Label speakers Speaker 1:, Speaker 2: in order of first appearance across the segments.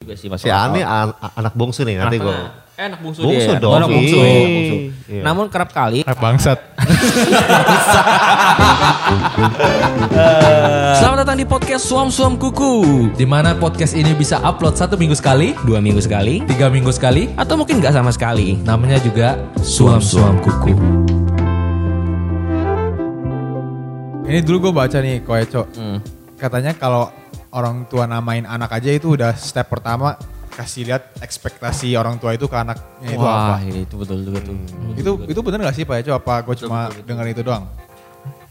Speaker 1: juga sih mas.
Speaker 2: Si Ani an- anak bungsu nih nanti gue.
Speaker 1: Eh, Oh. anak bungsu,
Speaker 2: Ya, Bungsu
Speaker 1: dia.
Speaker 2: dong,
Speaker 1: Anak bungsu.
Speaker 2: Fi.
Speaker 1: anak bungsu.
Speaker 2: Iya.
Speaker 1: Namun kerap kali
Speaker 3: Ah, bangsat.
Speaker 4: Selamat datang di podcast Suam Suam Kuku.
Speaker 3: Di mana podcast ini bisa upload satu minggu sekali,
Speaker 4: Dua minggu sekali,
Speaker 3: tiga minggu sekali.
Speaker 4: atau mungkin nggak sama sekali.
Speaker 3: Namanya juga Suam Suam Kuku. Ini dulu gue baca nih Koeco. Katanya kalau orang tua namain anak aja itu udah step pertama kasih lihat ekspektasi orang tua itu ke anaknya itu
Speaker 1: Wah,
Speaker 3: apa.
Speaker 1: iya, itu betul juga tuh.
Speaker 3: Itu itu bener gak sih Pak Eco? Apa gue cuma dengar itu doang?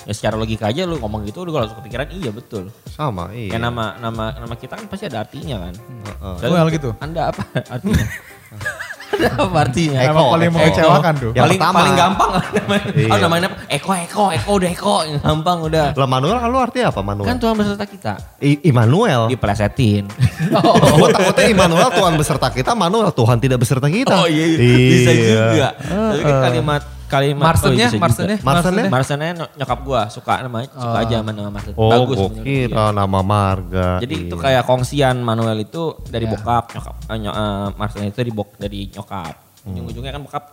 Speaker 1: Ya, secara logika aja lu ngomong gitu, lu kalau langsung kepikiran iya betul.
Speaker 2: Sama iya.
Speaker 1: Ya nama nama nama kita kan pasti ada artinya kan.
Speaker 2: Heeh.
Speaker 1: Dan
Speaker 3: Well, gitu.
Speaker 1: Anda apa artinya? Anda apa artinya?
Speaker 2: Eko,
Speaker 3: Emang paling
Speaker 2: Eko.
Speaker 3: mengecewakan tuh.
Speaker 2: Yang
Speaker 1: paling
Speaker 2: pertama.
Speaker 1: paling gampang lah namanya.
Speaker 2: Iya.
Speaker 1: Oh, namanya apa? Eko Eko Eko udah Eko gampang udah.
Speaker 2: Lah Manuel kan lu artinya apa Manuel?
Speaker 1: Kan Tuhan beserta kita.
Speaker 2: I- Immanuel.
Speaker 1: Diplesetin.
Speaker 2: Gue takutnya Immanuel Tuhan beserta kita, Manuel Tuhan tidak beserta kita. Ah,
Speaker 1: Oh iya, iya. bisa juga. Tapi kan kalimat kalimat oh, iya, bisa
Speaker 3: Marsdennya,
Speaker 1: juga.
Speaker 3: Marsdennya,
Speaker 2: Marsdennya?
Speaker 1: Marsennya ny- nyokap gua suka namanya, suka aja sama nama Marsen.
Speaker 2: Ah. Oh,
Speaker 1: Bagus
Speaker 2: gue
Speaker 1: menurut dia.
Speaker 2: kira nama marga.
Speaker 1: Jadi itu
Speaker 2: Iya.
Speaker 1: kayak kongsian Manuel itu dari bokap, nyokap eh, nyo- eh, Marsen itu dari bok dari nyokap.
Speaker 2: Hmm.
Speaker 1: Ujung-ujungnya kan bokap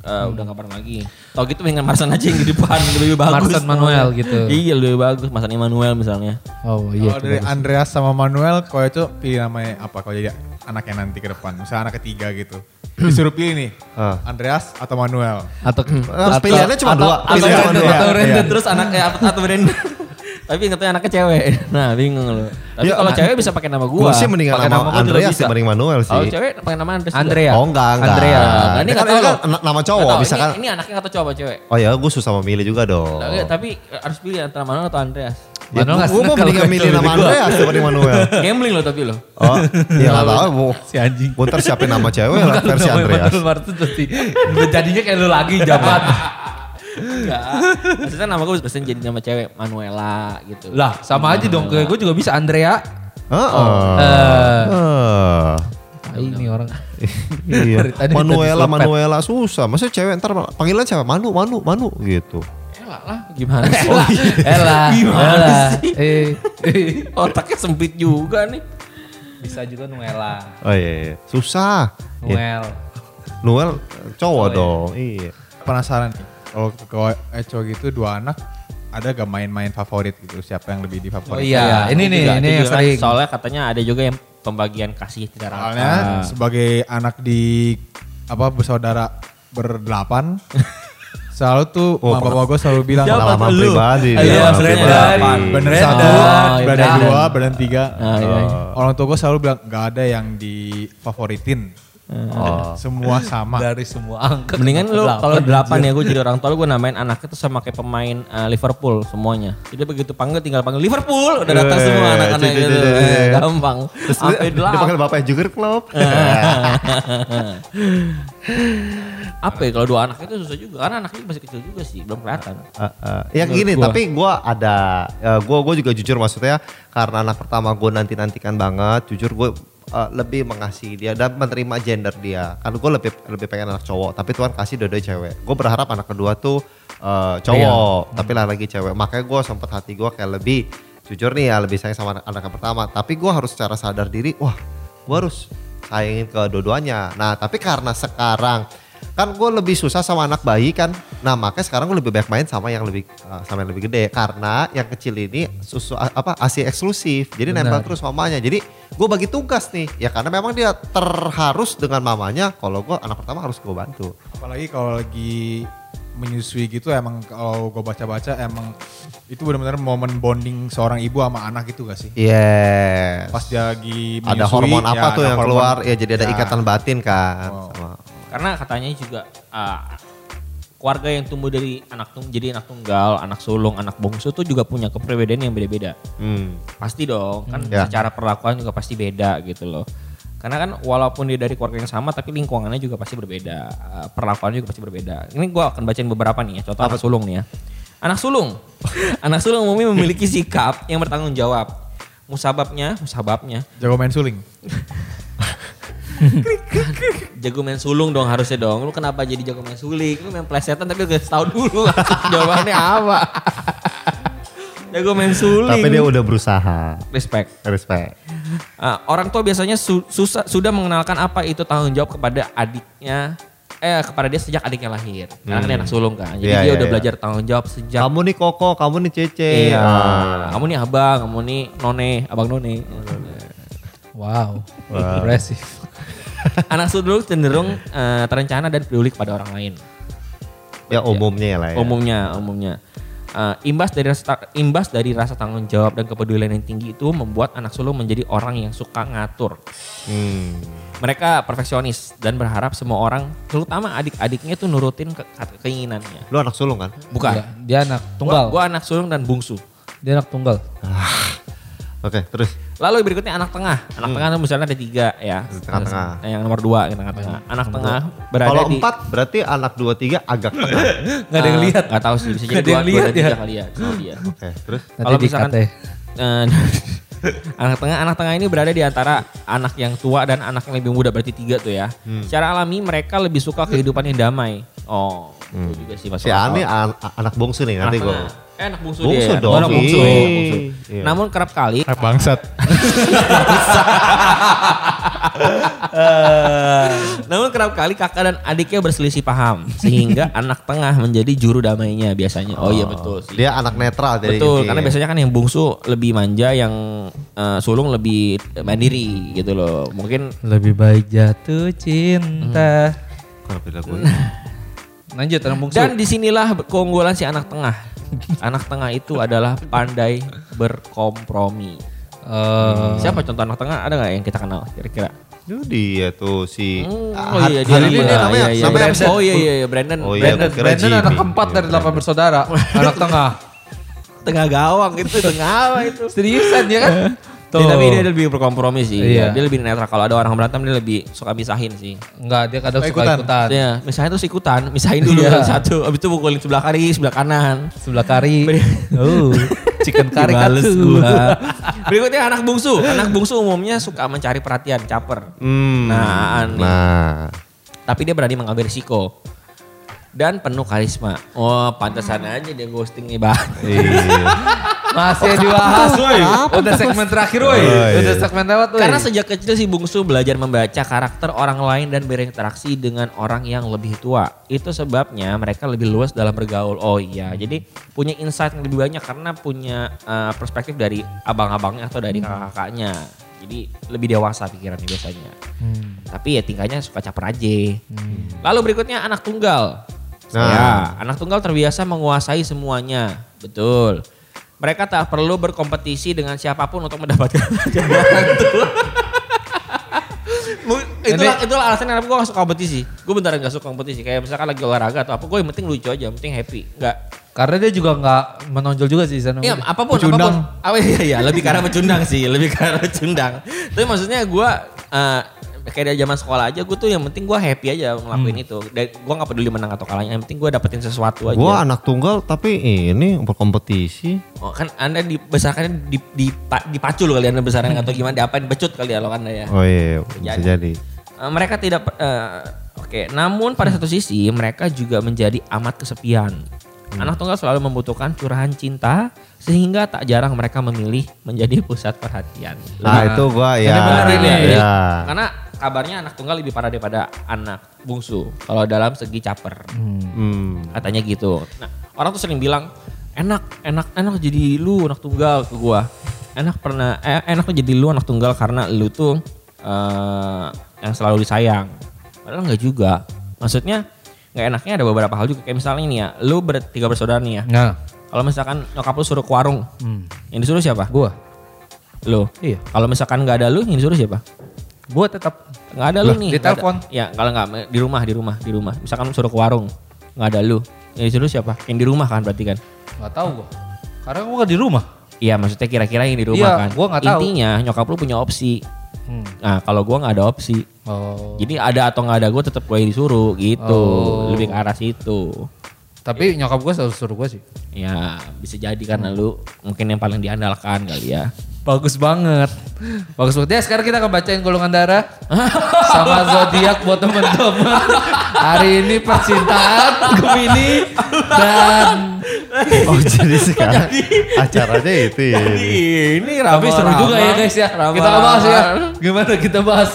Speaker 1: eh, udah gak pernah lagi. Tau gitu pengen Marsen aja yang di depan lebih bagus.
Speaker 5: Marsen Manuel gitu.
Speaker 1: iya lebih bagus Marsen Manuel misalnya.
Speaker 5: Oh iya. itu
Speaker 3: Kalau dari
Speaker 5: bagus.
Speaker 3: Andreas sama Manuel, kalau itu pilih namanya apa? Kalau jadi anaknya nanti ke depan, misalnya anak ketiga gitu. Disuruh pilih nih,
Speaker 2: Ah.
Speaker 3: Andreas atau Manuel.
Speaker 5: atau
Speaker 2: Nah,
Speaker 5: Hmm. atau-
Speaker 2: pilihannya cuma dua.
Speaker 1: atau
Speaker 3: Iya,
Speaker 1: Brandon,
Speaker 3: iya,
Speaker 1: atau
Speaker 3: iya.
Speaker 1: Brandon terus eh, anaknya atau, atau Brandon. Tapi ingetnya anaknya cewek. Nah, bingung lu. Tapi
Speaker 2: Ya,
Speaker 1: kalau
Speaker 2: nah,
Speaker 1: cewek bisa pakai nama gua.
Speaker 2: Gua sih mendingan
Speaker 1: Pakai
Speaker 2: nama
Speaker 1: gua juga
Speaker 2: Andreas
Speaker 1: bisa. Oh,
Speaker 2: sih, mending Manuel sih.
Speaker 1: Kalau cewek pakai nama Andreas. juga.
Speaker 5: Andrea.
Speaker 2: Oh enggak, enggak.
Speaker 5: Andrea.
Speaker 1: Nah, ini
Speaker 2: Kan
Speaker 1: nggak tahu
Speaker 2: ini kan
Speaker 1: loh.
Speaker 2: nama
Speaker 1: Nggak
Speaker 2: cowok
Speaker 1: tahu,
Speaker 2: bisa
Speaker 1: ini,
Speaker 2: kan.
Speaker 1: Ini anaknya atau cowok apa cewek?
Speaker 2: Oh ya, gue susah memilih juga dong.
Speaker 1: Tapi- Tapi harus pilih antara Manuel atau Andreas.
Speaker 2: Ya,
Speaker 5: Manuel nggak
Speaker 2: gue mau
Speaker 5: seneng
Speaker 2: mendingan
Speaker 5: Iya, kalau
Speaker 2: milih nama Andreas daripada Manuel.
Speaker 1: Gambling lo tapi lo.
Speaker 2: Oh, ya nggak tahu. Bu.
Speaker 5: si anjing.
Speaker 2: Gue ntar siapin nama cewek lah versi
Speaker 5: Namanya
Speaker 2: Andreas.
Speaker 5: Manuel Martin pasti. Jadinya kayak lu lagi jabat.
Speaker 1: Enggak. Maksudnya nama gue biasanya jadi nama cewek Manuela gitu.
Speaker 5: lah sama aja dong. Gue juga bisa Andrea.
Speaker 2: Heeh.
Speaker 5: Eh.
Speaker 2: Heeh.
Speaker 5: Tai ini orang.
Speaker 2: Iya.
Speaker 5: Dari tadi
Speaker 2: Manuela,
Speaker 5: tadi selopet.
Speaker 2: Manuela susah. Maksudnya cewek ntar panggilan siapa? Manu, Manu, Manu gitu.
Speaker 1: Gimana? sih?
Speaker 5: iya. Ella. Ella.
Speaker 1: sih?
Speaker 5: Eh, eh.
Speaker 1: Otaknya sempit juga nih.
Speaker 5: Bisa juga Nuela.
Speaker 2: Oh iya, iya. susah. Ya,
Speaker 5: Noel.
Speaker 2: Noel eh, cowok dong. Iya.
Speaker 3: Penasaran nih, kalau kalau Eco gitu dua anak, ada gak main-main favorit gitu? Siapa yang lebih
Speaker 5: Oh
Speaker 3: difavorit?
Speaker 5: iya,
Speaker 1: Itu
Speaker 5: ini nih,
Speaker 1: juga- itu
Speaker 5: ini yang
Speaker 1: juga kan
Speaker 5: sering.
Speaker 1: Soalnya katanya ada juga yang pembagian kasih tidak rata.
Speaker 3: Soalnya sebagai anak di apa bersaudara berdelapan, selalu tuh
Speaker 2: Oh,
Speaker 3: mama bapak gue selalu bilang
Speaker 2: Pengalaman
Speaker 3: lu?
Speaker 2: pribadi.
Speaker 3: Iya,
Speaker 2: pengalaman
Speaker 3: bener
Speaker 2: pribadi.
Speaker 3: bener
Speaker 5: Bener
Speaker 3: satu,
Speaker 5: satu,
Speaker 3: bener
Speaker 5: bener.
Speaker 3: dua, bener tiga.
Speaker 1: Nah, iya, iya.
Speaker 3: Orang tua gue selalu bilang gak ada yang difavoritin.
Speaker 2: Oh.
Speaker 3: Semua sama.
Speaker 5: Dari semua angka.
Speaker 1: Mendingan lu
Speaker 5: Delapan.
Speaker 1: kalau delapan ya gue jadi orang tua gue namain anaknya tuh sama kayak pemain eh, Liverpool semuanya. Jadi begitu panggil tinggal panggil Liverpool udah datang
Speaker 2: Eh,
Speaker 1: semua anak-anak
Speaker 2: cek, cek,
Speaker 1: gitu.
Speaker 2: cek, cek.
Speaker 1: Eh, Gampang.
Speaker 2: Terus
Speaker 1: Sampai
Speaker 2: dia, dia
Speaker 1: delapan.
Speaker 2: panggil bapaknya Jugger Club.
Speaker 1: Apa ya kalau dua anak itu susah juga karena anaknya masih kecil juga sih belum kelihatan.
Speaker 2: Eh, eh, ya gini, tapi gue ada, gue gue juga jujur maksudnya karena anak pertama gue nanti nantikan banget, jujur gue lebih mengasihi dia dan menerima gender dia. Kan gue lebih lebih pengen anak cowok, tapi Tuhan kasih dua cewek. Gue berharap anak kedua tuh eh, cowok, tapi lah lagi cewek. Makanya gue sempat hati gue kayak lebih jujur nih ya lebih sayang sama anak, anak yang pertama. Tapi gue harus secara sadar diri, wah gue harus sayangin ke dua-duanya. Nah tapi karena sekarang kan gue lebih susah sama anak bayi kan nah makanya sekarang gue lebih banyak main sama yang lebih uh, sama yang lebih gede karena yang kecil ini susu a- apa asi eksklusif jadi nempel terus mamanya jadi gue bagi tugas nih ya karena memang dia terharus dengan mamanya kalau gue anak pertama harus gue bantu
Speaker 3: Apalagi kalau lagi menyusui gitu emang kalau gue baca-baca emang itu benar-benar momen bonding seorang ibu sama anak itu gak sih?
Speaker 2: yes
Speaker 3: Pas dia lagi menyusui.
Speaker 2: ada hormon
Speaker 3: ya,
Speaker 2: apa tuh
Speaker 3: ada
Speaker 2: yang
Speaker 3: hormon.
Speaker 2: keluar ya jadi ada
Speaker 3: Ya. Oh.
Speaker 2: ikatan batin kan
Speaker 3: Wow.
Speaker 2: sama
Speaker 1: Karena katanya juga ah, keluarga yang tumbuh dari anak tung jadi anak tunggal, anak sulung, anak bungsu tuh juga punya kepribadian yang beda-beda.
Speaker 2: hmm.
Speaker 1: Pasti dong, kan
Speaker 2: Ya.
Speaker 1: secara perlakuan juga pasti beda gitu loh. Karena kan walaupun dia dari keluarga yang sama tapi lingkungannya juga pasti berbeda, eh, perlakuannya juga pasti berbeda. Ini gua akan bacain beberapa nih ya, contoh anak sulung nih ya. Anak sulung. anak sulung umumnya memiliki sikap yang bertanggung jawab. Musababnya, musababnya
Speaker 3: Jago main suling.
Speaker 1: jago main sulung dong harusnya dong. Lu kenapa jadi jago main suling? Lu main plesetan tapi lu gak tahu dulu jawabannya apa. jago main suling.
Speaker 2: tapi dia udah berusaha
Speaker 1: respect.
Speaker 2: respect
Speaker 1: Ah, orang tua biasanya su- susah, sudah mengenalkan apa itu tanggung jawab kepada adiknya eh kepada dia sejak adiknya lahir. Karena kan dia anak sulung kan. Jadi
Speaker 2: Iya,
Speaker 1: dia
Speaker 2: iya,
Speaker 1: udah
Speaker 2: iya.
Speaker 1: belajar tanggung jawab
Speaker 3: Ya.
Speaker 1: sejak
Speaker 2: Kamu nih koko, kamu nih cece.
Speaker 1: Iya.
Speaker 2: Ah.
Speaker 1: Kamu nih abang, kamu nih none, abang none.
Speaker 5: Wow. Impresif.
Speaker 1: Anak sulung cenderung eh, terencana dan peduli kepada orang lain.
Speaker 3: Iya.
Speaker 2: Ya umumnya ya lah ya.
Speaker 1: Umumnya, umumnya. Eh, imbas dari rasa ta- imbas dari rasa tanggung jawab dan kepedulian yang tinggi itu membuat anak sulung menjadi orang yang suka ngatur.
Speaker 2: Hmm.
Speaker 1: Mereka perfeksionis dan berharap semua orang, terutama adik-adiknya itu nurutin ke- ke- keinginannya.
Speaker 2: Lu anak sulung kan?
Speaker 1: Bukan.
Speaker 5: Dia, dia anak Iya.
Speaker 1: Gua,
Speaker 5: tunggal.
Speaker 1: gua anak sulung dan bungsu.
Speaker 5: Dia anak tunggal.
Speaker 2: Oke, terus.
Speaker 1: Lalu berikutnya anak tengah. Anak
Speaker 5: Hmm.
Speaker 1: tengah itu misalnya ada tiga ya.
Speaker 2: Tengah-tengah.
Speaker 1: Nah, Yang nomor dua yang tengah-tengah. Anak tengah berada
Speaker 2: Kalau
Speaker 1: di.
Speaker 2: empat berarti anak dua tiga agak tengah.
Speaker 5: Nggak ada yang
Speaker 1: Ah,
Speaker 5: lihat.
Speaker 1: Nggak tahu sih. Bisa jadi
Speaker 5: Nggak ada
Speaker 1: dua,
Speaker 5: yang
Speaker 1: dua
Speaker 5: lihat
Speaker 1: dan tiga
Speaker 5: ya.
Speaker 1: kali ya. Kalau dia.
Speaker 2: Oke, terus.
Speaker 5: Nanti
Speaker 1: Kalau
Speaker 5: di
Speaker 1: misalkan
Speaker 5: KT.
Speaker 1: eh, anak tengah, anak tengah ini berada di antara anak yang tua dan anak yang lebih muda berarti tiga tuh ya.
Speaker 5: Hmm.
Speaker 1: Secara alami mereka lebih suka kehidupan yang damai. Oh,
Speaker 5: Hmm.
Speaker 1: itu juga sih masuk
Speaker 2: Si
Speaker 1: akal.
Speaker 2: Ani an- anak bongsu nih nanti
Speaker 1: Anak
Speaker 2: gue.
Speaker 1: tengah. Eh, anak bungsu,
Speaker 2: Bungsu
Speaker 1: dia.
Speaker 2: dong.
Speaker 1: Anak bungsu,
Speaker 2: Ih.
Speaker 1: anak bungsu.
Speaker 2: Iya.
Speaker 1: Namun kerap kali
Speaker 3: Anak bangsat.
Speaker 1: Eh, Namun kerap kali kakak dan adiknya berselisih paham sehingga anak tengah menjadi juru damainya biasanya. Oh, iya betul sih.
Speaker 2: Dia anak netral jadi.
Speaker 1: betul,
Speaker 2: intinya.
Speaker 1: karena biasanya kan yang bungsu lebih manja, yang eh, sulung lebih mandiri gitu loh. Mungkin
Speaker 5: Lebih baik jatuh cinta.
Speaker 2: Kalau beda gue.
Speaker 5: Hmm.
Speaker 1: Hmm.
Speaker 5: Lanjut anak bungsu.
Speaker 1: dan disinilah keunggulan si anak tengah. anak tengah itu adalah pandai berkompromi.
Speaker 5: Eh,
Speaker 1: Siapa contoh anak tengah ada nggak yang kita kenal kira-kira?
Speaker 2: Itu dia ya tuh si.
Speaker 1: Hmm,
Speaker 2: Ah,
Speaker 1: iya,
Speaker 2: hari ini dia
Speaker 1: iya,
Speaker 2: namanya.
Speaker 1: iya, iya.
Speaker 2: namanya apa
Speaker 1: Brandon.
Speaker 2: sih?
Speaker 1: Oh iya iya iya, Brandon.
Speaker 2: Oh, iya.
Speaker 5: Brandon,
Speaker 2: gua kira
Speaker 5: Brandon anak
Speaker 2: Jimmy.
Speaker 5: keempat
Speaker 2: Iya,
Speaker 5: dari delapan bersaudara, anak tengah.
Speaker 1: Tengah gawang itu tengah apa itu?
Speaker 5: Seriusan ya kan?
Speaker 1: Dia, tapi dia lebih berkompromi sih.
Speaker 5: Iya.
Speaker 1: Dia lebih netral. Kalau ada orang berantem dia lebih suka misahin sih.
Speaker 5: Enggak, dia kadang
Speaker 3: Suka
Speaker 5: suka
Speaker 3: ikutan.
Speaker 5: ikutan.
Speaker 1: Iya, misahin terus ikutan, misahin dulu
Speaker 5: Iya.
Speaker 1: yang satu, habis itu pukulin sebelah kiri, sebelah kanan.
Speaker 5: Sebelah kari. oh, chicken kari
Speaker 1: Dibales
Speaker 5: katsu.
Speaker 1: gua. Berikutnya anak bungsu. Anak bungsu umumnya suka mencari perhatian, caper.
Speaker 2: Hmm.
Speaker 1: Nah, aneh.
Speaker 2: Nah.
Speaker 1: Tapi dia berani mengambil risiko. Dan penuh karisma. Oh, pantesan aja dia ghosting nih, Bang.
Speaker 2: Iya.
Speaker 5: Masih dibahas, woi. Udah segmen terakhir, woi. Udah segmen lewat, woi.
Speaker 1: Karena sejak kecil si bungsu belajar membaca karakter orang lain dan berinteraksi dengan orang yang lebih tua. Itu sebabnya mereka lebih luas dalam bergaul. Oh iya, jadi punya insight yang lebih banyak karena punya eh, perspektif dari abang-abangnya atau dari kakak-kakaknya. Jadi lebih dewasa pikirannya biasanya. Tapi ya tingkahnya suka caper aja. Lalu berikutnya anak tunggal.
Speaker 2: Nah.
Speaker 1: Ya, anak tunggal terbiasa menguasai semuanya. Betul. Mereka tak perlu berkompetisi dengan siapapun untuk mendapatkan perhatian Mu- itulah itulah alasan kenapa gue gak suka kompetisi gue beneran gak suka kompetisi kayak misalkan lagi olahraga atau apa gue yang penting lucu aja yang penting happy nggak
Speaker 5: Karena dia juga nggak menonjol juga sih di sana.
Speaker 1: Iya, apapun, apapun.
Speaker 3: Pecundang.
Speaker 1: Apa, iya, iya, lebih karena pecundang sih, lebih karena pecundang. Tapi maksudnya gue kayak dari zaman sekolah aja, gue tuh yang penting gue happy aja ngelakuin itu. Dan gue gak peduli menang atau kalahnya, yang penting gue dapetin sesuatu aja.
Speaker 2: Gue anak tunggal tapi ini berkompetisi.
Speaker 1: Oh, kan anda dibesarkan di, di, pa- dipacu loh kalian besaran atau gimana diapain becut kali ya lo kan ya.
Speaker 2: Oh iya, bisa jadi.
Speaker 1: Eh, mereka tidak eh, oke namun pada satu sisi mereka juga menjadi amat kesepian anak tunggal selalu membutuhkan curahan cinta sehingga tak jarang mereka memilih menjadi pusat perhatian
Speaker 2: Nah, itu gua ya.
Speaker 1: Ini benar ini.
Speaker 2: Ya.
Speaker 1: karena kabarnya anak tunggal lebih parah daripada anak bungsu kalau dalam segi caper
Speaker 2: Hmm.
Speaker 1: katanya gitu. Nah, orang tuh sering bilang enak, enak, enak jadi lu anak tunggal ke gua. Enak pernah, eh, enak tuh jadi lu anak tunggal karena lu tuh eh, yang selalu disayang. Padahal nggak juga. Maksudnya nggak enaknya ada beberapa hal juga. Kayak misalnya ini ya, lu bertiga bersaudara nih ya.
Speaker 5: Nah,
Speaker 1: Kalau misalkan nyokap lu suruh ke warung, yang disuruh siapa?
Speaker 5: Hmm. gua.
Speaker 1: Lu.
Speaker 5: Iya.
Speaker 1: Kalau misalkan nggak ada lu, yang disuruh siapa?
Speaker 5: Gua tetap
Speaker 1: Nggak ada lu
Speaker 5: Lah,
Speaker 1: nih.
Speaker 5: di
Speaker 1: nggak ada.
Speaker 5: telepon.
Speaker 1: Ya kalau nggak di rumah, di rumah, di rumah. Misalkan suruh ke warung, nggak ada lu. Yang disuruh siapa? Yang di rumah kan berarti kan?
Speaker 5: nggak tahu gua. Karena gua nggak di rumah.
Speaker 1: Iya maksudnya kira-kira yang di rumah
Speaker 5: Iya,
Speaker 1: kan.
Speaker 5: gua nggak tahu.
Speaker 1: Intinya nyokap lu punya opsi. Nah kalau gua nggak ada opsi.
Speaker 5: Oh.
Speaker 1: Jadi ada atau nggak ada gua tetap gue disuruh gitu.
Speaker 5: Oh.
Speaker 1: Lebih ke arah situ.
Speaker 5: Tapi nyokap gua selalu suruh gua sih.
Speaker 1: Ya bisa jadi karena lu mungkin yang paling diandalkan kali ya.
Speaker 5: Bagus banget. Bagus banget. Ya sekarang kita akan bacain golongan darah sama zodiak buat teman-teman. Hari ini percintaan Gemini dan
Speaker 2: Oh jadi sekarang acaranya itu ya.
Speaker 1: Ini
Speaker 5: tapi
Speaker 1: ramai.
Speaker 5: seru juga ya guys ya.
Speaker 1: Rama-
Speaker 5: Kita bahas ya. Gimana kita bahas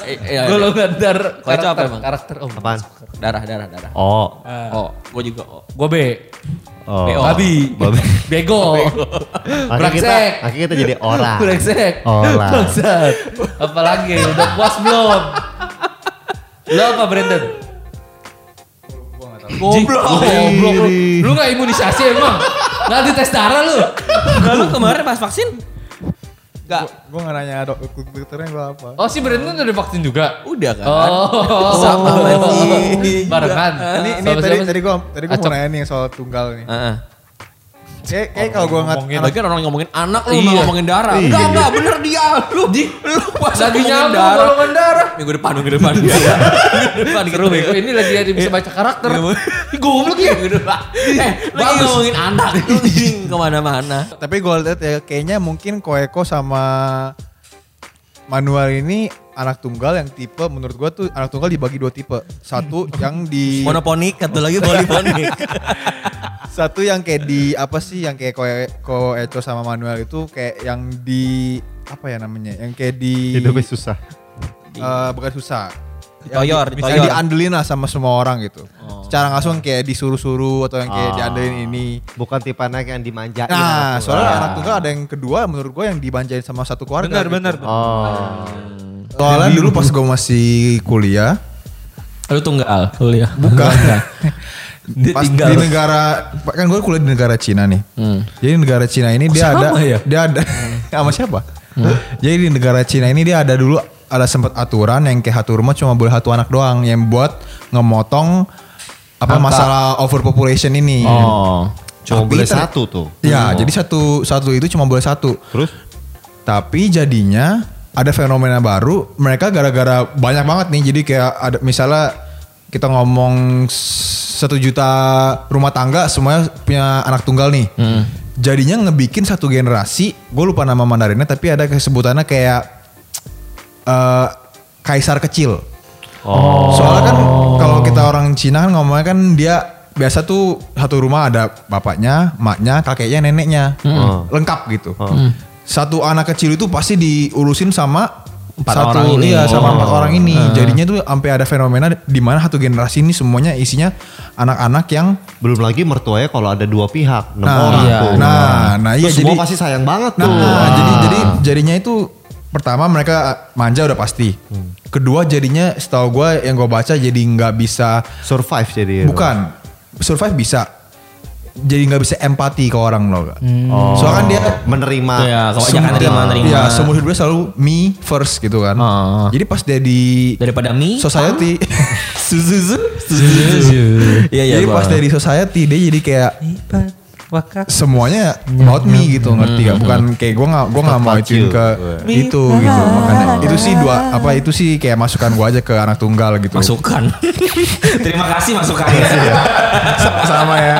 Speaker 5: golongan dar
Speaker 1: Kau itu apa
Speaker 5: karakter,
Speaker 1: emang?
Speaker 5: karakter om.
Speaker 2: Apaan?
Speaker 1: Darah, darah, darah.
Speaker 2: Oh.
Speaker 1: Oh, gue juga. Oh.
Speaker 5: Gue B.
Speaker 2: Oh.
Speaker 5: BO. Babi.
Speaker 2: Babi.
Speaker 5: Bego.
Speaker 2: Akhirnya kita,
Speaker 5: Brangsek.
Speaker 2: akhirnya kita jadi orang.
Speaker 5: Brengsek.
Speaker 2: Olah.
Speaker 5: Bangsat. Apalagi udah puas belum? Lo apa Brandon? Goblok. Goblok lu. Lu gak imunisasi emang? Gak dites darah lu?
Speaker 1: Lalu kemarin pas vaksin? Enggak.
Speaker 3: Gue gak nanya dok, dokternya gue apa.
Speaker 5: Oh si Brandon udah vaksin juga?
Speaker 1: Udah kan?
Speaker 5: Oh,
Speaker 1: Sama
Speaker 5: lagi. Barengan.
Speaker 3: Ini, ini
Speaker 5: Sama siapa
Speaker 3: tadi,
Speaker 5: sih?
Speaker 3: tadi gue tadi gua mau
Speaker 5: Acok.
Speaker 3: nanya nih soal tunggal nih.
Speaker 1: Heeh.
Speaker 3: Kayak, kayak kalau gue ngat,
Speaker 1: Ngomongin
Speaker 3: anak-
Speaker 1: lagi Ya, orang ngomongin anak lu
Speaker 5: Iya.
Speaker 1: malah ngomongin darah.
Speaker 2: Iya.
Speaker 1: Enggak, enggak, bener dia. Lu lu pas
Speaker 5: Lagi
Speaker 1: ngomongin
Speaker 5: nyambung
Speaker 1: darah. Iya.
Speaker 5: golongan darah.
Speaker 1: Minggu depan, minggu depan. Minggu depan Iya,
Speaker 5: Seru bego. Ini lagi ada bisa baca karakter. Ih, Goblok ya.
Speaker 1: Eh, lagi ngomongin anak. Lu anjing kemana-mana.
Speaker 3: tapi gue lihat ya kayaknya mungkin Koeko sama Manuel ini anak tunggal yang tipe menurut gue tuh anak tunggal dibagi dua tipe. Satu
Speaker 2: Hmm.
Speaker 3: yang di
Speaker 1: Monoponik, satu lagi poliponik.
Speaker 3: satu yang kayak di apa sih yang kayak Koe- Koeco sama Manuel itu kayak yang di apa ya namanya? Yang kayak di
Speaker 2: Hidupnya susah.
Speaker 3: eh, bukan susah.
Speaker 1: Ditoyor,
Speaker 3: Yang di- misalnya
Speaker 1: ditoyor. Oh.
Speaker 3: diandelin lah sama semua orang gitu. Secara langsung kayak disuruh-suruh atau yang kayak
Speaker 1: Ah.
Speaker 3: diandelin ini.
Speaker 2: Bukan tipe anak
Speaker 1: Iya,
Speaker 2: yang dimanjain.
Speaker 3: Nah,
Speaker 2: anak tua.
Speaker 3: soalnya anak tunggal ada yang kedua menurut gue yang dibanjain sama satu
Speaker 6: Benar,
Speaker 3: keluarga. gitu.
Speaker 6: benar.
Speaker 2: Oh.
Speaker 3: Soalnya dulu pas gue masih kuliah,
Speaker 1: Lu ya. tunggal. Kuliah.
Speaker 3: bukan.
Speaker 1: Dia
Speaker 3: pas
Speaker 1: tinggal.
Speaker 3: di negara Hmm. kan gue kuliah di negara Cina nih. Jadi negara Cina ini dia ada dia ada sama siapa? Jadi di negara Cina ini dia ada dulu ada sempat aturan yang kayak satu rumah cuma boleh satu anak doang yang buat ngemotong apa masalah overpopulation ini.
Speaker 2: Oh. Cuma
Speaker 3: Tapi
Speaker 2: boleh
Speaker 3: ter-
Speaker 2: satu tuh.
Speaker 3: Ya, jadi satu satu itu cuma boleh satu.
Speaker 2: Terus?
Speaker 3: Tapi jadinya ada fenomena baru, mereka gara-gara banyak banget nih. Jadi kayak ada misalnya kita ngomong s- satu juta rumah tangga semuanya punya anak tunggal nih. Jadinya ngebikin satu generasi, gue lupa nama Mandarinnya, tapi ada kesebutannya kayak eh, kaisar kecil.
Speaker 2: Oh.
Speaker 3: Soalnya kan kalau kita orang Cina kan ngomongnya kan dia biasa tuh satu rumah ada bapaknya, maknya, kakeknya, neneknya.
Speaker 1: Oh.
Speaker 3: Lengkap gitu. Satu anak kecil itu pasti diurusin sama
Speaker 1: Empat
Speaker 3: satu
Speaker 1: orang ini.
Speaker 3: iya sama
Speaker 1: Oh.
Speaker 3: empat orang ini. Jadinya tuh sampai ada fenomena di mana satu generasi ini semuanya isinya anak-anak yang
Speaker 2: Belum lagi mertuanya kalau ada dua pihak, enam
Speaker 3: Nah,
Speaker 2: orang
Speaker 3: iya.
Speaker 2: tuh.
Speaker 3: Nah, nah, iya,
Speaker 2: Terus semua
Speaker 3: jadi-
Speaker 2: pasti sayang banget
Speaker 3: Nah,
Speaker 2: tuh. Wah.
Speaker 3: jadi jadi jadinya itu pertama mereka manja udah pasti.
Speaker 1: Hmm.
Speaker 3: Kedua jadinya setahu gue yang gue baca jadi nggak bisa
Speaker 2: survive jadi.
Speaker 1: Gitu.
Speaker 2: ya.
Speaker 3: Bukan. Survive bisa. Jadi nggak bisa empati ke orang loh. Kak. Soalnya kan dia
Speaker 2: Oh. menerima.
Speaker 1: Iya, kebanyakan
Speaker 3: semua-
Speaker 1: Hmm. terima, terima.
Speaker 3: Iya, seumur hidupnya selalu me first gitu kan.
Speaker 1: Ah.
Speaker 3: Jadi pas dia di
Speaker 1: Daripada mie.
Speaker 3: society
Speaker 1: Suzuzu. Suzuzu. Iya, iya.
Speaker 3: Jadi
Speaker 1: gua.
Speaker 3: pas dia di society dia jadi kayak semuanya
Speaker 1: Iya,
Speaker 3: about me gitu
Speaker 1: Hmm,
Speaker 3: ngerti gak? Bukan kayak gue nggak gue nggak mau
Speaker 2: About
Speaker 3: ituin
Speaker 2: you.
Speaker 3: ke itu gitu makanya itu sih dua apa itu sih kayak masukan gue aja ke anak tunggal gitu
Speaker 1: Masukan. Terima kasih masukannya.
Speaker 3: sama ya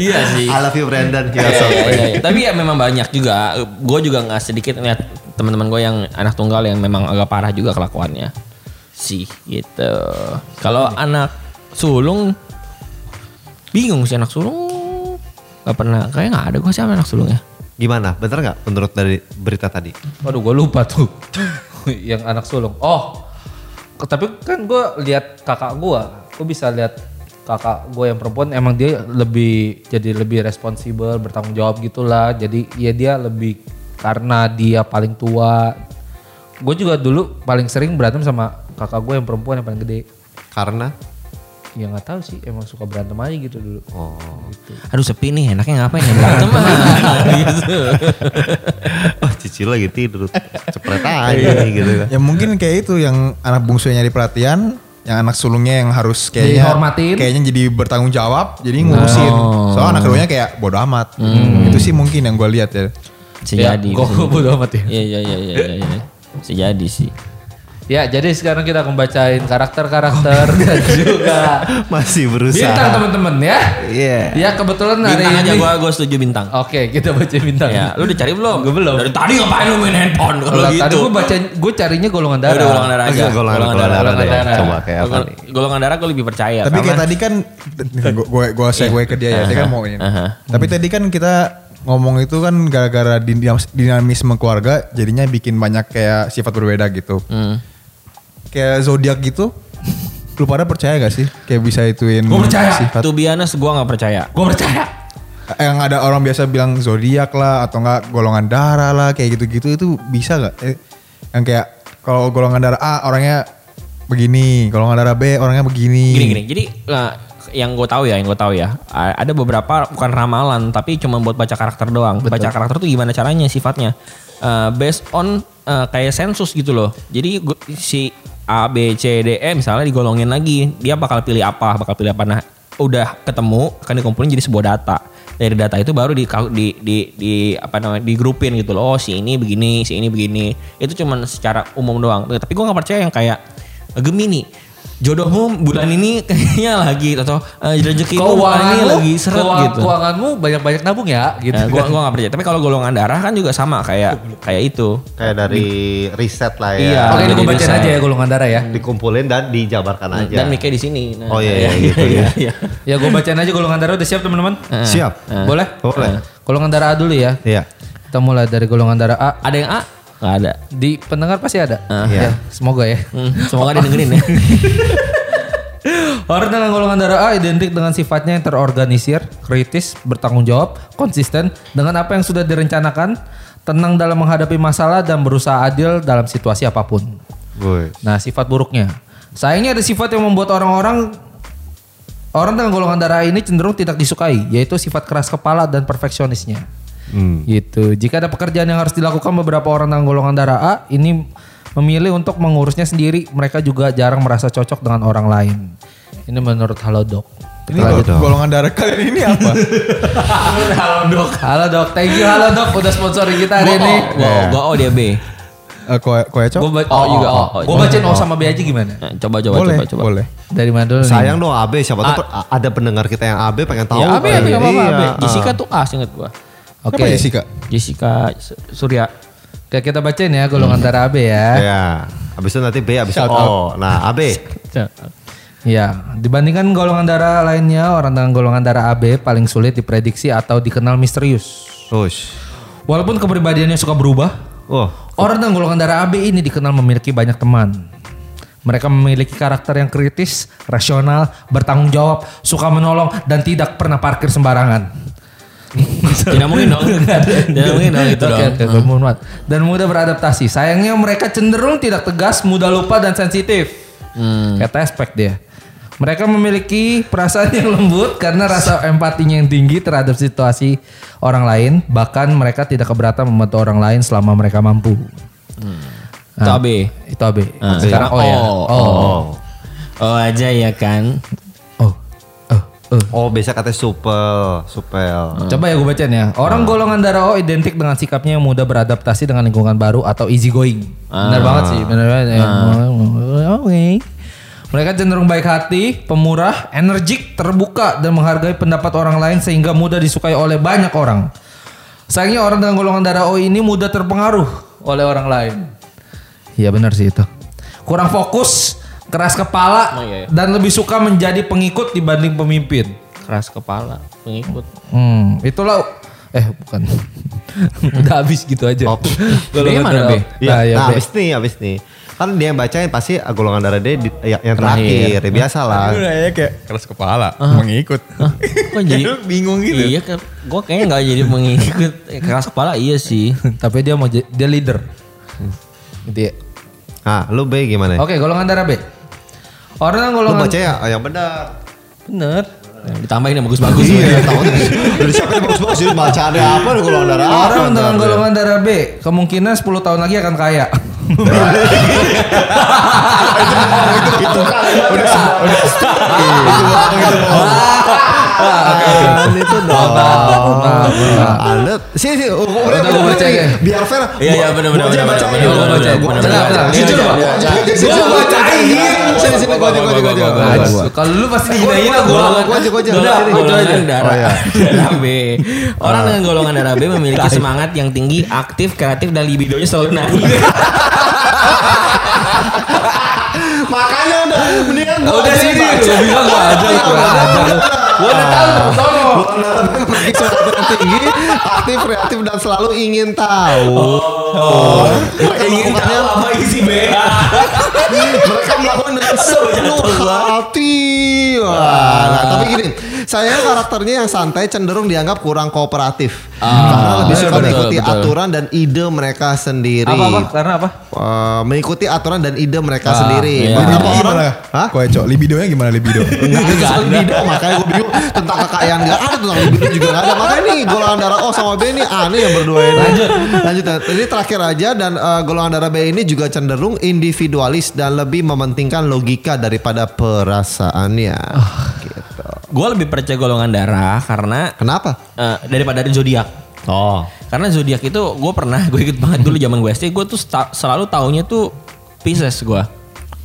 Speaker 1: Iya sih.
Speaker 2: I love you
Speaker 1: Iya,
Speaker 2: Brandon. Kita
Speaker 1: iya,
Speaker 2: Ya, sampai.
Speaker 1: iya, iya. Tapi ya memang banyak juga. Gue juga nggak sedikit lihat teman-teman gue yang anak tunggal yang memang agak parah juga kelakuannya sih gitu. Kalau anak sulung bingung sih anak sulung nggak pernah kayak nggak ada gue sih sama anak sulung ya.
Speaker 2: Gimana? Bener nggak menurut dari berita tadi?
Speaker 5: Waduh gue lupa tuh. yang anak sulung. Oh. ke- Tapi kan gue lihat kakak gue. Gue bisa lihat kakak gue yang perempuan emang dia lebih jadi lebih responsibel, bertanggung jawab gitulah. Jadi ya dia lebih karena dia paling tua. Gue juga dulu paling sering berantem sama kakak gue yang perempuan yang paling gede.
Speaker 2: Karena
Speaker 5: Ya nggak tahu sih, emang suka berantem aja gitu dulu.
Speaker 1: Aduh sepi nih enaknya ngapain ya berantem ah. gitu.
Speaker 2: oh cicil lagi tidur cepret
Speaker 1: Iya.
Speaker 2: aja gitu kan.
Speaker 3: ya mungkin kayak itu yang anak bungsunya nyari perhatian yang anak sulungnya yang harus kayaknya
Speaker 5: Dihormatin. Nah. Oh.
Speaker 3: kayaknya jadi bertanggung jawab jadi ngurusin soalnya anak keduanya kayak bodo amat
Speaker 5: Hmm.
Speaker 3: itu sih mungkin yang gue lihat ya
Speaker 1: Sejadi.
Speaker 5: Ya, gue bodo amat ya.
Speaker 1: Iya iya iya iya iya. iya. Bisa jadi sih.
Speaker 5: Ya, jadi sekarang kita akan bacain karakter-karakter
Speaker 1: Oh,
Speaker 5: dan juga
Speaker 2: Masih berusaha.
Speaker 5: bintang teman-teman ya.
Speaker 2: Iya.
Speaker 5: Ya kebetulan hari
Speaker 1: Bintang
Speaker 5: ini.
Speaker 1: aja gue gue setuju bintang.
Speaker 5: Oke, kita baca bintang.
Speaker 1: Ya, lu udah cari belum?
Speaker 5: Gue belum.
Speaker 1: Dari tadi ngapain lu main handphone kalau
Speaker 5: Lah,
Speaker 1: gitu?
Speaker 5: Tadi gue baca, gue carinya Eh, golongan
Speaker 1: Ya
Speaker 5: darah.
Speaker 1: udah golongan darah ya. aja.
Speaker 2: Oke, golongan- golongan darah deh. Coba kayak apa
Speaker 1: Golongan- Golongan darah gue lebih percaya.
Speaker 3: Tapi kayak
Speaker 1: karena-
Speaker 3: tadi kan gue gue gue segue ke dia ya, dia kan mau ini.
Speaker 1: Iya. Aha.
Speaker 3: Tapi tadi kan kita ngomong itu kan gara-gara dinam- dinamisme keluarga jadinya bikin banyak kayak sifat berbeda gitu.
Speaker 1: Hmm.
Speaker 3: Kayak zodiak gitu. Lu pada percaya gak sih kayak bisa ituin
Speaker 5: Gua percaya.
Speaker 3: sifat?
Speaker 1: To be honest, gue gak percaya.
Speaker 5: Gue percaya.
Speaker 3: Yang ada orang biasa bilang zodiak lah atau enggak golongan darah lah kayak gitu-gitu itu bisa gak? Eh, yang kayak kalau golongan darah A orangnya begini, golongan darah B orangnya begini.
Speaker 1: Gini gini. Jadi nah, yang gue tahu ya, yang gue tahu ya, a- ada beberapa bukan ramalan tapi cuma buat baca karakter doang. Baca karakter tuh gimana caranya sifatnya? Eh, based on eh, kayak sensus gitu loh. Jadi gu- si A B C D E misalnya digolongin lagi, dia bakal pilih apa? Bakal pilih apa? Nah, udah ketemu akan dikumpulin jadi sebuah data. Dari data itu baru di di di, di- apa namanya? digrupin gitu loh. Oh, si ini begini, si ini begini. Itu cuman secara umum doang. Tapi gue nggak percaya yang kayak Gemini jodohmu bulan ini kayaknya lagi atau eh, rezekimu bulan ini
Speaker 5: Keuanganmu,
Speaker 1: lagi seret
Speaker 5: keuang-
Speaker 1: gitu.
Speaker 5: Keuanganmu banyak-banyak nabung ya, gitu.
Speaker 1: Ya, gua gua gak percaya. Tapi kalau golongan darah kan juga sama kayak kayak itu.
Speaker 2: Kayak dari riset lah ya.
Speaker 1: Iya.
Speaker 5: Oke, ini gue
Speaker 1: Jadi
Speaker 5: bacain
Speaker 1: bisa.
Speaker 5: aja ya golongan darah ya.
Speaker 2: Dikumpulin dan dijabarkan aja.
Speaker 1: Dan mikir di sini. Nah,
Speaker 2: Oh, iya,
Speaker 1: ya,
Speaker 2: iya, gitu,
Speaker 1: iya, iya.
Speaker 5: Ya gue bacain aja golongan darah udah siap teman-teman?
Speaker 1: Ya.
Speaker 2: Siap.
Speaker 5: Boleh?
Speaker 2: Boleh.
Speaker 5: Golongan darah A dulu ya.
Speaker 2: Iya.
Speaker 5: Kita mulai dari golongan darah A.
Speaker 1: Ada yang A? Gak ada.
Speaker 5: Di pendengar pasti ada.
Speaker 2: Iya.
Speaker 5: Ya, semoga ya.
Speaker 1: Hmm, semoga dia dengerin ya.
Speaker 5: Orang dengan golongan darah A identik dengan sifatnya yang terorganisir, kritis, bertanggung jawab, konsisten dengan apa yang sudah direncanakan, tenang dalam menghadapi masalah dan berusaha adil dalam situasi apapun.
Speaker 2: Woi.
Speaker 5: Nah, sifat buruknya. Sayangnya ada sifat yang membuat orang-orang orang dengan golongan darah ini cenderung tidak disukai, yaitu sifat keras kepala dan perfeksionisnya. Gitu. Jika ada pekerjaan yang harus dilakukan beberapa orang dengan golongan darah A ini memilih untuk mengurusnya sendiri, mereka juga jarang merasa cocok dengan orang lain. Ini menurut Halodoc.
Speaker 3: Ini golongan darah kalian ini apa?
Speaker 5: Halodoc. Halodoc. Thank you Halodoc udah sponsorin kita
Speaker 1: Gua
Speaker 5: hari
Speaker 1: O,
Speaker 5: ini.
Speaker 1: gua O, gua O dia B.
Speaker 3: Eh, koe, koecok?
Speaker 5: Gue
Speaker 1: Oh,
Speaker 5: juga.
Speaker 1: oh, oh.
Speaker 5: Gue bacain O sama B aja gimana?
Speaker 1: Nah, coba coba
Speaker 3: boleh,
Speaker 1: coba coba.
Speaker 3: boleh.
Speaker 5: Dari mana dulu? nih?
Speaker 2: Sayang dong AB siapa tahu per- ada pendengar kita yang AB pengen tahu.
Speaker 1: Ya, A B
Speaker 2: kali.
Speaker 1: A B gak apa-apa A, B.
Speaker 2: Iya.
Speaker 1: Jessica tuh A seinget gua.
Speaker 5: Oke.
Speaker 3: Kenapa Jessica?
Speaker 1: Ah. Jessica Su- Surya.
Speaker 5: Oke kita bacain ya golongan darah AB ya.
Speaker 2: Iya. Habis itu nanti B, habis itu
Speaker 3: Shout
Speaker 2: O. Nah, AB.
Speaker 5: Ya, dibandingkan golongan darah lainnya, orang dengan golongan darah AB paling sulit diprediksi atau dikenal misterius.
Speaker 2: Push.
Speaker 5: Walaupun kepribadiannya suka berubah,
Speaker 2: Oh,
Speaker 5: orang dengan golongan darah AB ini dikenal memiliki banyak teman. Mereka memiliki karakter yang kritis, rasional, bertanggung jawab, suka menolong, dan tidak pernah parkir sembarangan.
Speaker 1: Tidak mungkin dong. Tidak Ya, mungkin dong itu
Speaker 5: Oke,
Speaker 1: dong. Hmm.
Speaker 5: oke, gue mohon maaf. Dan mudah beradaptasi. Sayangnya mereka cenderung tidak tegas, mudah lupa dan sensitif.
Speaker 1: Hmm.
Speaker 5: Kata aspek dia. Mereka memiliki perasaan yang lembut karena rasa empatinya yang tinggi terhadap situasi orang lain. Bahkan mereka tidak keberatan membantu orang lain selama mereka mampu.
Speaker 1: Itu A B.
Speaker 5: Itu AB.
Speaker 1: Ah,
Speaker 5: Sekarang O ya.
Speaker 1: Oh,
Speaker 5: O.
Speaker 1: Oh aja ya kan.
Speaker 5: Oh. Oh. Oh.
Speaker 2: Oh biasa katanya supel,
Speaker 1: Ah.
Speaker 2: supel.
Speaker 5: Coba ya gue bacain ya. Orang golongan darah O identik dengan sikapnya yang mudah beradaptasi dengan lingkungan baru atau easy going. Benar banget sih, benar banget.
Speaker 1: Ah.
Speaker 5: ya. Oke. Mereka cenderung baik hati, pemurah, energik, terbuka dan menghargai pendapat orang lain sehingga mudah disukai oleh banyak orang. Sayangnya orang dengan golongan darah O ini mudah terpengaruh oleh orang lain. Iya benar sih itu. Kurang fokus, keras kepala
Speaker 1: Oh, iya, iya.
Speaker 5: dan lebih suka menjadi pengikut dibanding pemimpin.
Speaker 1: Keras kepala pengikut.
Speaker 5: Hmm, itulah eh bukan. Udah habis gitu aja.
Speaker 2: Op.
Speaker 5: Golongan
Speaker 1: Gimana,
Speaker 5: darah
Speaker 1: Be?
Speaker 5: op.
Speaker 2: Iya,
Speaker 5: Nah, ya,
Speaker 2: nah
Speaker 5: Be.
Speaker 2: abis nih, abis nih. Kan dia yang bacain pasti golongan darah dia di- ya- yang terakhir, ya biasa lah.
Speaker 3: Lu nanya kayak keras kepala, mengikut.
Speaker 1: Kok jadi
Speaker 3: Lu bingung gitu.
Speaker 1: Iya, kan gue kayaknya nggak jadi mengikut Eh, keras kepala iya sih.
Speaker 5: Tapi dia mau jadi- dia leader. Gitu ya.
Speaker 2: Nah, lu B gimana?
Speaker 5: Oke, golongan darah B. Orang
Speaker 2: Lu
Speaker 5: golongan
Speaker 2: baca ya oh, yang benar.
Speaker 5: bener.
Speaker 1: Ditambahin yang bagus-bagus.
Speaker 2: Iya, tahu nih. Dari siapa yang bagus-bagus jadi baca ada apa nih golongan darah?
Speaker 5: Orang dengan golongan darah B kemungkinan 10 tahun lagi akan kaya.
Speaker 2: itu udah udah itu bohong, itu bohong. Bukan itu dong.
Speaker 5: Nah,
Speaker 2: Anda sini sini umurnya
Speaker 5: Udah, gua baca ya.
Speaker 2: biar fair.
Speaker 1: Iya, iya, bener, bener, bener, bener,
Speaker 5: bener, bener, bener, bener, bener.
Speaker 2: Jujur Pak.
Speaker 5: Iya, iya.
Speaker 2: Jujur,
Speaker 5: Gua
Speaker 2: Pak.
Speaker 5: bacain.
Speaker 2: Sini sini gua aja gua aja gua aja. Gua aja.
Speaker 5: Kalau lu pasti dihinain lah iya, gua.
Speaker 2: Gua aja gua aja.
Speaker 1: Golongan
Speaker 2: Sini.
Speaker 1: golongan darah darah B. Orang dengan golongan darah B memiliki semangat yang tinggi, aktif, kreatif dan libidonya selalu naik.
Speaker 2: Makanya udah mendingan gua
Speaker 5: Udah
Speaker 2: aja,
Speaker 5: sini,
Speaker 2: Pak.
Speaker 5: gua bilang gua aja, gua aja. Gua udah tahu, sono.
Speaker 2: Golongan darah B memiliki semangat yang tinggi, aktif, kreatif dan selalu ingin tahu. Mereka
Speaker 1: Ingin tahu
Speaker 2: melakukannya-
Speaker 1: apa isi B.
Speaker 2: mereka melakukan dengan sepenuh hati.
Speaker 5: Ah.
Speaker 2: Wah, nah, tapi gini, saya karakternya yang santai cenderung dianggap kurang kooperatif karena lebih suka
Speaker 5: Ah. Iya, betul,
Speaker 2: mengikuti
Speaker 5: betul.
Speaker 2: aturan dan ide mereka sendiri.
Speaker 5: Apa Ah, apa? Karena apa?
Speaker 2: Eh, mengikuti aturan dan ide mereka sendiri.
Speaker 1: iya.
Speaker 2: Beberapa
Speaker 3: Libido
Speaker 2: orang,
Speaker 3: gimana? ya?
Speaker 2: Hah?
Speaker 3: Kue cok, libidonya gimana libido?
Speaker 2: Enggak, enggak ada. Libido, makanya gue bingung tentang kekayaan gak ada, tentang libido juga gak ada. Makanya nih golongan darah O sama B ini aneh yang berdua ini. Lanjut. Lanjut. Jadi terakhir aja dan eh, golongan darah B ini juga cenderung individualis dan lebih mementingkan logika daripada perasaannya. Gitu.
Speaker 1: Gue lebih percaya golongan darah karena
Speaker 2: Kenapa?
Speaker 1: eh, daripada zodiak.
Speaker 2: Oh.
Speaker 1: Karena zodiak itu gue pernah gue ikut banget dulu zaman gue SD gue tuh sta- selalu taunya tuh Pisces gue.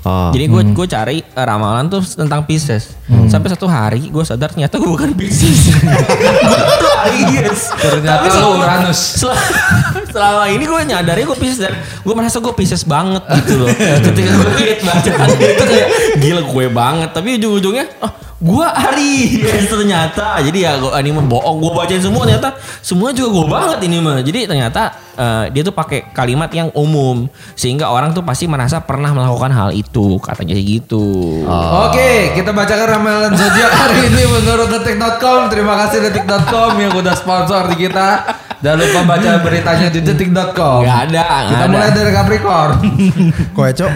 Speaker 2: Oh.
Speaker 1: Jadi gue
Speaker 5: Hmm.
Speaker 1: gue cari eh, ramalan tuh tentang Pisces. Sampai satu hari gue sadar ternyata gue bukan Pisces. Gua tuh Aries.
Speaker 5: Ternyata
Speaker 1: Tapi
Speaker 5: lu
Speaker 1: selama-
Speaker 5: Uranus.
Speaker 1: Selama, selama ini gue nyadarnya gue Pisces dan gue merasa gue Pisces banget gitu loh. Ketika gue lihat bacaan itu kayak gila gue banget. Tapi ujung-ujungnya oh, gue Aries ternyata. Jadi ya gue anime bohong. Gue bacain semua ternyata semua juga gue banget ini mah. Jadi ternyata eh, dia tuh pakai kalimat yang umum sehingga orang tuh pasti merasa pernah melakukan hal itu katanya sih gitu.
Speaker 5: Oh. Oke, kita bacakan ramalan zodiak hari ini menurut detik.com. Terima kasih detik.com yang udah sponsor di kita. Jangan lupa baca beritanya di detik.com.
Speaker 1: Nggak ada, nggak
Speaker 5: Kita
Speaker 1: ada.
Speaker 5: mulai dari Capricorn.
Speaker 3: Kue cok,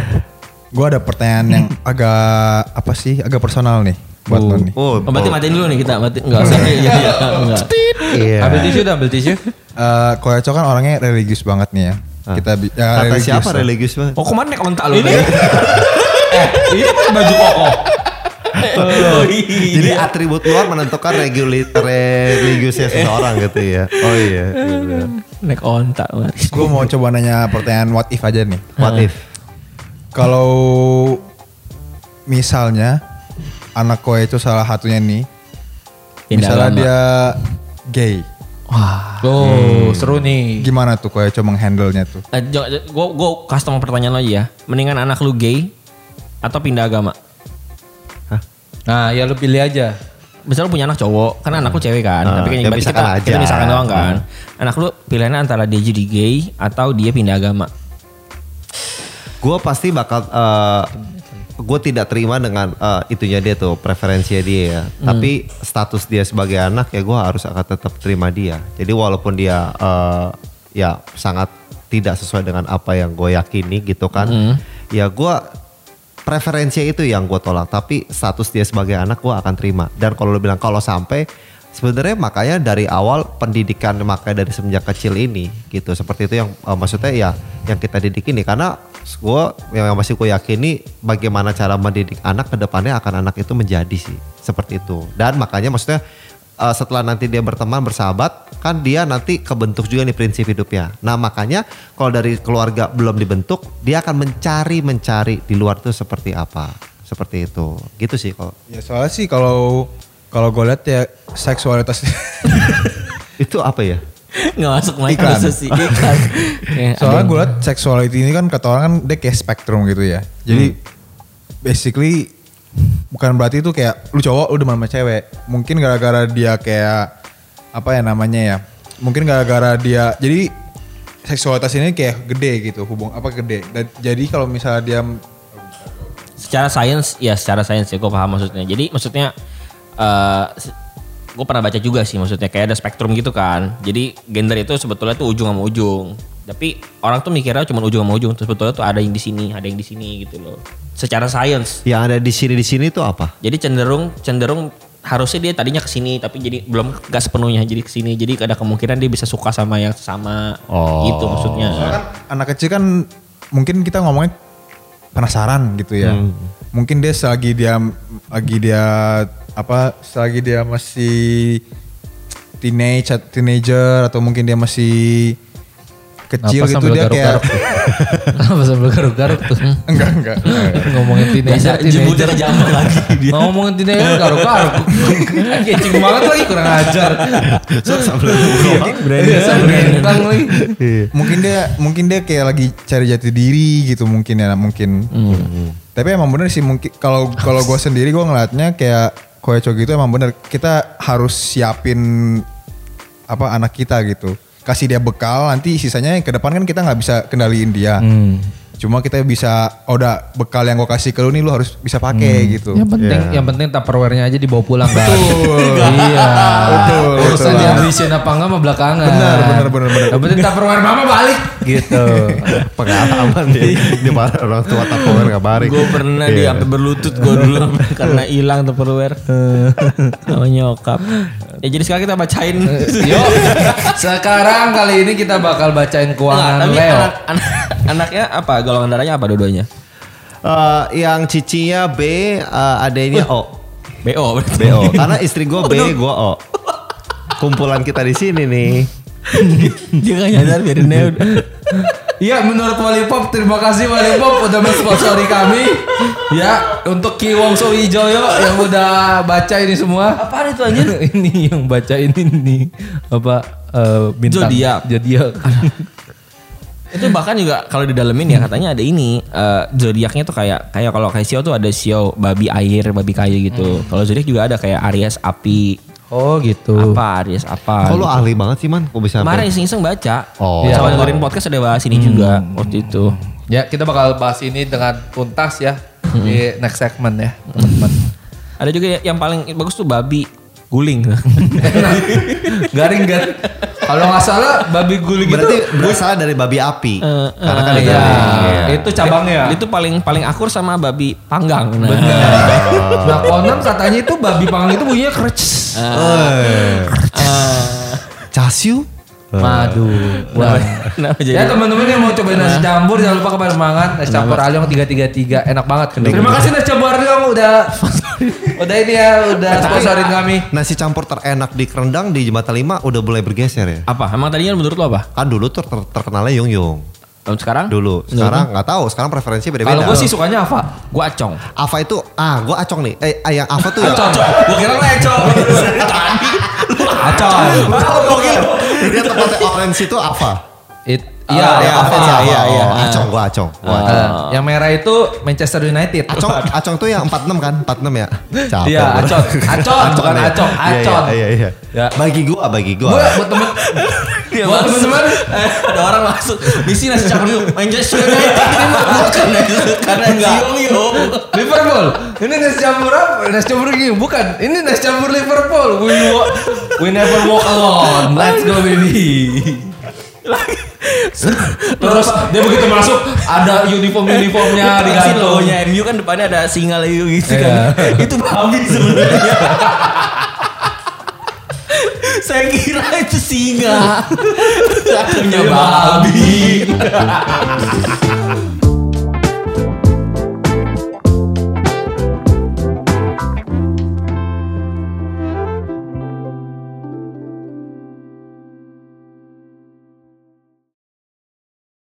Speaker 3: gue ada pertanyaan yang agak apa sih? Agak personal nih buat lo nih.
Speaker 1: Oh,
Speaker 2: Oh,
Speaker 1: berarti matiin dulu nih kita. Berarti enggak usah. Iya, iya, iya, enggak.
Speaker 2: Iya.
Speaker 5: Ambil tisu, udah ambil tisu.
Speaker 3: Eh, Kue cok kan orangnya religius banget nih ya. Kita bi- ya,
Speaker 2: Ah. Kata siapa
Speaker 3: lah.
Speaker 2: religius banget?
Speaker 1: Oh, kemana nek ontak lu? Eh, Ini.
Speaker 5: Ini Iya, pakai baju koko.
Speaker 1: Oh, Iya.
Speaker 2: Jadi atribut luar menentukan regulit religiusnya seseorang gitu ya. Oh iya. iya.
Speaker 1: Nek ontak. Mas.
Speaker 3: Gue mau coba nanya pertanyaan what if aja nih.
Speaker 2: What if?
Speaker 3: Kalau misalnya anak koe itu salah satunya nih,
Speaker 1: Pindah
Speaker 3: misalnya
Speaker 1: agama.
Speaker 3: dia gay,
Speaker 1: Hmm.
Speaker 5: Tuh, seru nih.
Speaker 3: gimana tuh koe coba menghandle-nya tuh?
Speaker 1: Oh, Eh, jo- jo- gua gua custom pertanyaan lagi ya. Mendingan anak lu gay atau pindah agama?
Speaker 5: Nah, ya lu pilih aja.
Speaker 1: Misal lu punya anak cowok, karena anak lu cewek kan,
Speaker 2: Ah,
Speaker 1: tapi kan
Speaker 2: ya
Speaker 1: berarti
Speaker 2: pisahkan
Speaker 1: kita,
Speaker 2: aja. Ah.
Speaker 1: kita misalkan doang kan. Anak lu pilihannya antara dia jadi gay atau dia pindah agama.
Speaker 2: gue pasti bakal gue tidak terima dengan eh, itunya dia tuh preferensinya dia ya tapi status dia sebagai anak ya gue harus akan tetap terima dia jadi walaupun dia eh, ya sangat tidak sesuai dengan apa yang gue yakini gitu kan ya gue preferensinya itu yang gue tolak tapi status dia sebagai anak gue akan terima dan kalau lo bilang kalau sampai sebenarnya makanya dari awal pendidikan makanya dari semenjak kecil ini gitu seperti itu yang eh, maksudnya ya yang kita didik ini karena gue yang masih gue yakini bagaimana cara mendidik anak kedepannya akan anak itu menjadi sih seperti itu dan makanya maksudnya eh, setelah nanti dia berteman bersahabat kan dia nanti kebentuk juga nih prinsip hidupnya nah makanya kalau dari keluarga belum dibentuk dia akan mencari mencari di luar tuh seperti apa seperti itu gitu sih kalau
Speaker 3: Ya soalnya sih kalau kalau gue lihat ya seksualitas
Speaker 2: itu apa ya
Speaker 1: Nggak masuk mic masa sih iklan. Eh,
Speaker 3: soalnya gue lihat seksuality ini kan kata orang kan dia kayak spektrum gitu ya. Jadi basically bukan berarti itu kayak lu cowok lu demen sama cewek. Mungkin gara-gara dia kayak apa ya namanya ya. Mungkin gara-gara dia jadi seksualitas ini kayak gede gitu hubung apa gede. Dan- jadi kalau misalnya dia
Speaker 1: secara sains ya secara sains ya gue paham maksudnya jadi maksudnya gue pernah baca juga sih maksudnya kayak ada spektrum gitu kan jadi gender itu sebetulnya tuh ujung sama ujung tapi orang tuh mikirnya cuma ujung sama ujung terus sebetulnya tuh ada yang di sini ada yang di sini gitu loh secara sains
Speaker 2: yang ada di sini di sini itu apa
Speaker 1: jadi cenderung cenderung harusnya dia tadinya ke sini tapi jadi belum gak sepenuhnya jadi ke sini jadi ada kemungkinan dia bisa suka sama yang sama
Speaker 2: Oh.
Speaker 1: gitu maksudnya
Speaker 3: Soalnya kan anak kecil kan mungkin kita ngomongnya penasaran gitu ya.
Speaker 5: Hmm.
Speaker 3: Mungkin dia selagi dia lagi dia apa selagi dia masih teenage teenager atau mungkin dia masih kecil
Speaker 5: Napas
Speaker 3: gitu
Speaker 5: sambil
Speaker 3: dia kayak
Speaker 5: garuk-garuk tuh. Kenapa sambil garuk-garuk tuh?
Speaker 3: enggak enggak.
Speaker 5: Ngomongin teenager,
Speaker 1: Jemputnya
Speaker 5: teenager.
Speaker 1: ke Jambang lagi dia.
Speaker 5: Ngomongin teenager garuk-garuk. Kecing banget lagi kurang ajar. Iya, sambil bentang lagi.
Speaker 3: mungkin dia mungkin dia kayak lagi cari jati diri gitu mungkin ya mungkin tapi emang bener sih mungkin kalau kalau gue sendiri gue ngelihatnya kayak koeco gitu emang bener kita harus siapin apa anak kita gitu kasih dia bekal nanti sisanya yang ke depan kan kita nggak bisa kendaliin dia cuma kita bisa oh, udah bekal yang gue kasih ke lu nih lu harus bisa pakai gitu
Speaker 5: Yang penting, yang penting tupperware-nya aja dibawa pulang kan. iya.
Speaker 3: Betul,
Speaker 5: Urusan
Speaker 3: betul.
Speaker 5: dihabisin apa enggak mah belakangan.
Speaker 3: Benar, benar, benar, benar.
Speaker 5: Yang penting tupperware mama balik gitu.
Speaker 2: pengalaman dia dia malah orang tua tak power ngabarin
Speaker 1: Gue pernah di
Speaker 2: Iya.
Speaker 1: sampai berlutut gue dulu karena hilang tupperware sama nyokap. Ya jadi sekarang kita bacain.
Speaker 5: Yuk, sekarang kali ini kita bakal
Speaker 1: Enggak,
Speaker 5: bacain keuangan
Speaker 1: tapi
Speaker 5: Leo.
Speaker 1: anak, anak- anaknya apa? Golongan darahnya apa dua-duanya?
Speaker 2: Eh, yang cicinya B eh, adanya O
Speaker 1: BO berarti.
Speaker 2: BO karena istri gue B gue O kumpulan kita di sini nih
Speaker 1: Dia gak nyadar biarin dia udah.
Speaker 5: Iya, menurut Wali Pop, terima kasih Wali Pop udah mensponsori kami. Ya, untuk Ki Wongso Wijoyo yang udah baca ini semua.
Speaker 1: Apaan itu anjir?
Speaker 5: ini yang baca ini nih apa eh, bintang
Speaker 1: Zodiak.
Speaker 5: Zodiak.
Speaker 1: itu bahkan juga kalau didalemin ya katanya ada ini eh, zodiaknya tuh kayak kayak kalau kayak Sio tuh ada Sio babi air babi kayu
Speaker 2: Hmm.
Speaker 1: gitu kalau zodiak juga ada kayak Aries api
Speaker 5: Oh gitu.
Speaker 1: apa Aries apa gitu.
Speaker 2: kok lu ahli banget sih man kok bisa
Speaker 1: kemarin
Speaker 2: sampai-
Speaker 1: iseng-iseng baca
Speaker 2: Oh. Hmm.
Speaker 1: sama dengerin podcast ada bahas ini juga waktu itu
Speaker 5: Ya, kita bakal bahas ini dengan tuntas ya di next segment ya, teman-teman.
Speaker 1: ada juga ya, yang paling bagus tuh babi guling
Speaker 5: Garing kan? Kalau nggak salah babi gitu. guling
Speaker 2: berarti
Speaker 5: itu
Speaker 2: berasal dari babi api karena kan
Speaker 5: Iya,
Speaker 2: itu
Speaker 5: itu cabangnya. ya?
Speaker 1: itu paling paling akur sama babi panggang nah.
Speaker 5: Nah, konon katanya itu babi panggang itu bunyinya kerc.
Speaker 2: casiu
Speaker 5: Waduh. Wah.
Speaker 1: Kenapa jadi-
Speaker 5: Ya teman-teman yang mau cobain nasi campur jangan lupa ke Mangan nasi campur Aliong 333 enak banget. Terima kasih nasi campur Aliong udah udah ini ya udah sponsorin kami.
Speaker 2: nasi campur terenak di Kerendang di Jembatan 5 udah mulai bergeser ya
Speaker 1: apa emang tadinya menurut lo apa
Speaker 2: kan dulu tuh ter- terkenalnya Yung Yung
Speaker 1: Tahun sekarang
Speaker 2: dulu sekarang nggak tahu sekarang preferensinya beda-beda
Speaker 5: Iya. Kalau gue sih sukanya apa?
Speaker 1: gue acong
Speaker 2: Ava itu ah gue acong nih eh ah, yang Ava tuh yang
Speaker 5: Acong. Gue kira lo acong. Acong.
Speaker 2: dia tempatnya orange itu Ava
Speaker 5: It,
Speaker 2: Iya,
Speaker 5: iya,
Speaker 2: yang Ava
Speaker 5: apa?
Speaker 2: itu Ava. Oh, acong gue acong gua acong.
Speaker 1: Ah.
Speaker 5: Eh, yang merah itu Manchester United.
Speaker 2: Acong, acong tuh yang 46 kan? 46 ya? Capek.
Speaker 5: Iya,
Speaker 2: gua.
Speaker 5: acon. Acon, bukan
Speaker 2: ya.
Speaker 5: acong,
Speaker 2: Iya, iya,
Speaker 5: acon.
Speaker 2: Iya, iya,
Speaker 5: Ya.
Speaker 2: Bagi gua, bagi gua.
Speaker 5: Gue buat temen
Speaker 1: Iya,
Speaker 5: buat temen-temen eh,
Speaker 1: ada orang masuk di sini nasi campur yuk Manchester United ini mah bukan karena Zion
Speaker 5: Liverpool. Ini nasi campur apa? Nasi campur gini bukan. Ini nasi campur Liverpool. We wa- we never walk alone. Let's go baby. Terus dia begitu masuk ada uniform uniformnya Nah, di Iya.
Speaker 1: Kasih logonya MU kan depannya ada singa layu gitu kan. Itu babi sebenarnya. Saya kira itu singa. Satunya babi.